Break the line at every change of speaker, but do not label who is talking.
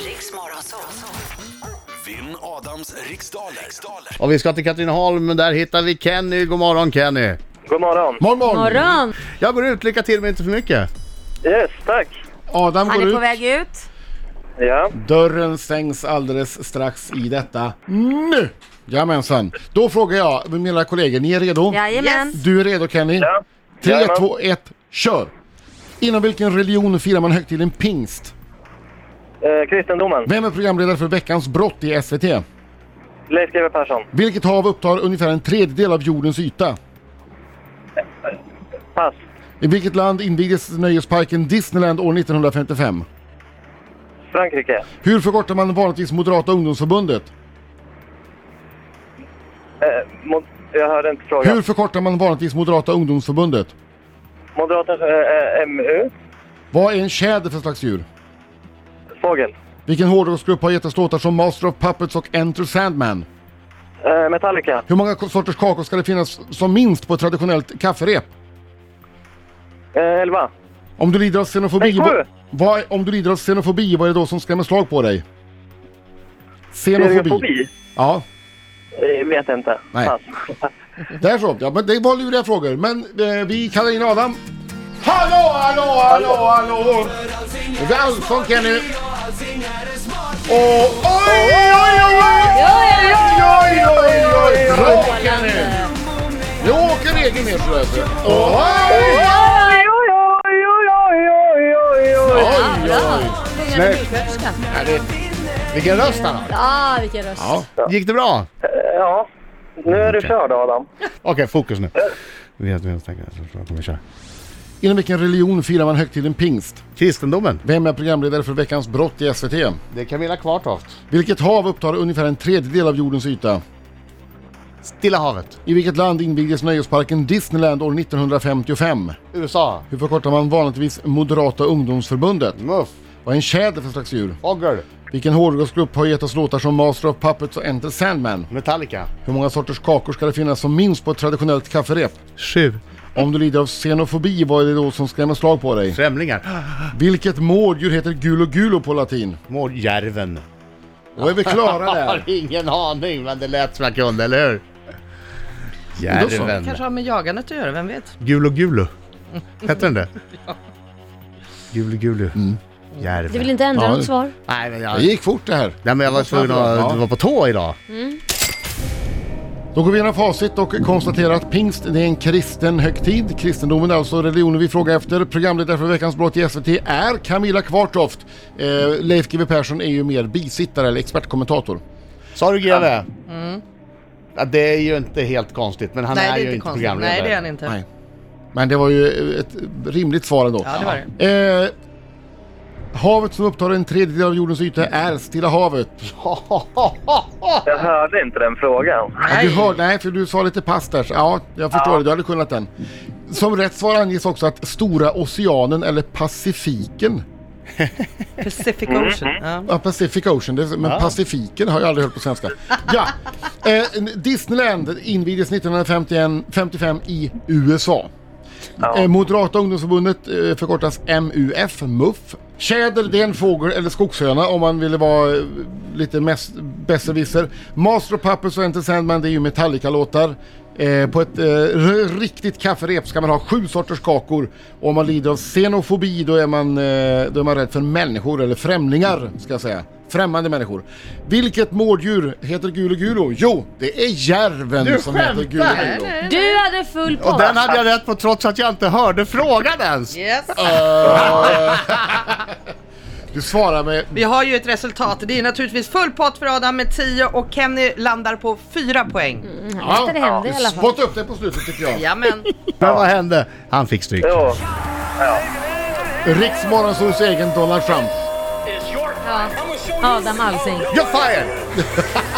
Riks Morgonzoo.
Vinn Adams riksdaler. riksdaler.
Och vi ska till Katrineholm, men där hittar vi Kenny. God morgon Kenny!
God morgon.
Morgon, morgon.
Morgon!
Jag går ut, lycka till men inte för mycket.
Yes, tack.
Adam
Han
går
är
ut.
på väg ut.
Ja,
Dörren stängs alldeles strax i detta nu. Jajamensan. Då frågar jag mina kollegor, ni är redo?
Jajamän. Yes.
Du är redo Kenny?
ja.
3,
Jajamän.
2, 1, kör! Inom vilken religion firar man högtiden pingst?
Eh, kristendomen.
Vem är programledare för Veckans brott i SVT?
Leif GW Persson.
Vilket hav upptar ungefär en tredjedel av jordens yta?
Pass.
I vilket land invigdes nöjesparken Disneyland år 1955?
Frankrike.
Hur förkortar man vanligtvis Moderata ungdomsförbundet?
Eh, mod- jag hörde inte frågan.
Hur förkortar man vanligtvis Moderata ungdomsförbundet?
Moderaterna, eh, eh, MU.
Vad är en tjäder för slags djur?
Fågel.
Vilken hårdrocksgrupp har gett oss låtar som Master of Puppets och Enter Sandman?
Eh, Metallica.
Hur många ko- sorters kakor ska det finnas som minst på ett traditionellt kafferep?
Eh, elva.
Om du lider av xenofobi...
Nej, sju!
vad, är- om du lider av xenofobi, vad är det då som skrämmer slag på dig? Xenofobi?
Fobi?
Ja,
Eh, vet inte.
Nej.
Pass.
där så. Ja, men det var luriga frågor. Men eh, vi kallar in Adam. Hallå, hallå, hallå, hallå! Det är Allsång Kenny. Och oj, oj, oj, oj! Oj, oj, oj! Bra Kenny! Nu åker regeln ner så vet du. Oj,
Oj, oj, oj, oj, oj, oj, oj, oj.
oj, oj!
Snyggt! Vilken röst han har!
Ja, vilken röst.
Ja.
Gick det bra?
Eh, Ja, nu är du körd Adam.
Okej, fokus nu. Vi vet, vi vet, tänker jag, så kommer vi köra.
Inom vilken religion firar man högtiden pingst?
Kristendomen,
Vem är programledare för Veckans brott i SVT?
det är Camilla Kvartoft.
Vilket hav upptar ungefär en tredjedel av jordens yta?
Stilla havet,
I vilket land invigdes nöjesparken Disneyland år 1955?
USA,
Hur förkortar man vanligtvis Moderata ungdomsförbundet?
MUF,
Vad är en tjäder för slags djur?
Ogger,
Vilken hårdrocksgrupp har gett oss låtar som Master of Puppets och Enter Sandman?
Metallica.
Hur många sorters kakor ska det finnas som minst på ett traditionellt kafferep?
Sju.
Om du lider av xenofobi, vad är det då som skrämmer slag på dig?
Främlingar.
Vilket mårddjur heter gulo gulo på latin?
Mårdjärven.
Då är vi klara
Jag har
där.
ingen aning, men det lät som jag kunde, eller hur?
Då så.
Järven.
kanske har med jagandet att göra, vem vet?
Gulo Gulo. Hette den det? Gulo Gulo.
Mm.
Du
Järven.
vill inte ändra
Ja.
något svar?
Nej, men jag...
Det gick fort det här.
Nej men jag var tvungen att
Ja.
vara på tå idag.
Då går vi igenom facit och konstaterar att pingst det är en kristen högtid. Kristendomen är alltså religionen vi frågar efter. Programledare för Veckans brott i SVT är Camilla Kvartoft. Eh, Leif GW Persson är ju mer bisittare eller expertkommentator.
Sa du GV? Ja, det är ju inte helt konstigt men han
Mm. Nej,
är,
det är
ju
inte
inte
konstigt.
programledare.
Nej, det är han inte.
Nej. Men det var ju ett rimligt svar ändå.
Ja, det var
Eh, havet som upptar en tredjedel av jordens yta är Stilla havet.
Jag hörde inte den frågan.
Nej. Du hör, nej, för du sa lite pass där. Så, ja, jag förstår det. Du hade kunnat den. Som rätt svar anges också att Stora Oceanen eller Pacifiken
Pacific Ocean. Ja.
Ja, Pacific Ocean, det, men Pacifiken har jag aldrig hört på svenska. Ja. Eh, Disneyland invigdes 1955 i USA. Eh, Moderata ungdomsförbundet eh, förkortas MUF, MUF. Tjäder, det är en fågel eller skogshöna om man ville vara eh, lite mest- besserwisser. Master of Puppets och Enter Sandman, det är ju Metallica-låtar. Eh, på ett eh, r- riktigt kafferep ska man ha sju sorters kakor. Och om man lider av xenofobi då är, man, eh, då är man rädd för människor, eller främlingar ska jag säga. Främmande människor. Vilket mårddjur heter Gulo Gulo? Jo, det är järven
Du
som heter
skämtar!
Gulo Gulo.
Du hade full
Och
pott.
den hade jag rätt på trots att jag inte hörde frågan ens.
Yes.
Du svarar med
Vi har ju ett resultat. Det är naturligtvis full pott för Adam med 10 och Kenny landar på 4 poäng.
Ja,
det hände i alla fall.
Spotta upp det på slutet tycker jag.
Jajamän.
Men vad hände? Han fick stryk.
Jo,
Riksmorgonsols egen Donald Trump.
Adam Alsing.
You're fired!